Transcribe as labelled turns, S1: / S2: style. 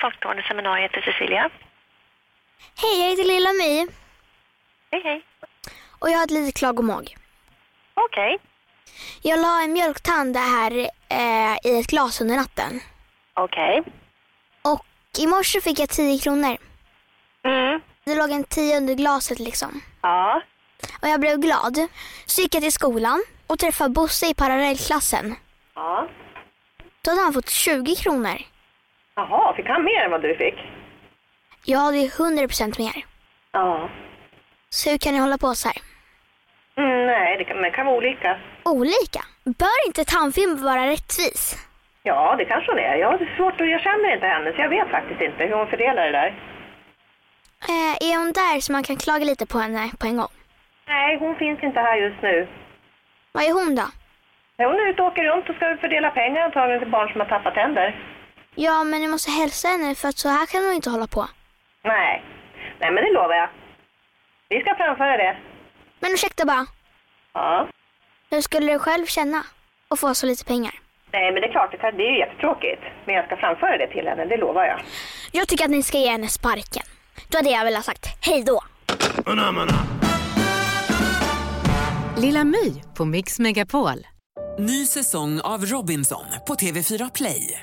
S1: Folkstående seminariet heter Cecilia.
S2: Hej, jag heter Lilla My
S1: Hej, hej.
S2: och jag har ett litet klagomål.
S1: Okej.
S2: Jag la en mjölktand här eh, i ett glas under natten.
S1: Okej.
S2: Och i morse fick jag 10 kronor.
S1: Mm.
S2: Det låg en 10 under glaset liksom.
S1: Ja.
S2: Och jag blev glad. Så gick jag till skolan och träffade Bosse i parallellklassen.
S1: Ja.
S2: Då hade han fått 20 kronor.
S1: Jaha, fick han mer än vad du fick?
S2: Jag hade ju 100% mer.
S1: Ja.
S2: Så hur kan ni hålla på så här?
S1: Mm, nej, det kan, det kan vara olika.
S2: Olika? Bör inte tandfilm vara rättvis?
S1: Ja, det kanske hon är. Jag har svårt att... Jag känner inte henne, så jag vet faktiskt inte hur hon fördelar det där.
S2: Eh, är hon där så man kan klaga lite på henne på en gång?
S1: Nej, hon finns inte här just nu.
S2: Vad är hon då?
S1: Hon är ute och åker runt och ska fördela pengar antagligen till barn som har tappat tänder.
S2: Ja, men ni måste hälsa henne för att så här kan hon inte hålla på.
S1: Nej. Nej, men det lovar jag. Vi ska framföra det.
S2: Men ursäkta bara,
S1: Ja.
S2: hur skulle du själv känna att få så lite pengar?
S1: Nej, men det är klart, det kan- det är ju jättetråkigt. Men jag ska framföra det till henne, det lovar jag.
S2: Jag tycker att ni ska ge henne sparken. Då hade jag velat sagt hej då.
S3: Lilla My på Mix Megapol.
S4: Ny säsong av Robinson på TV4 Play.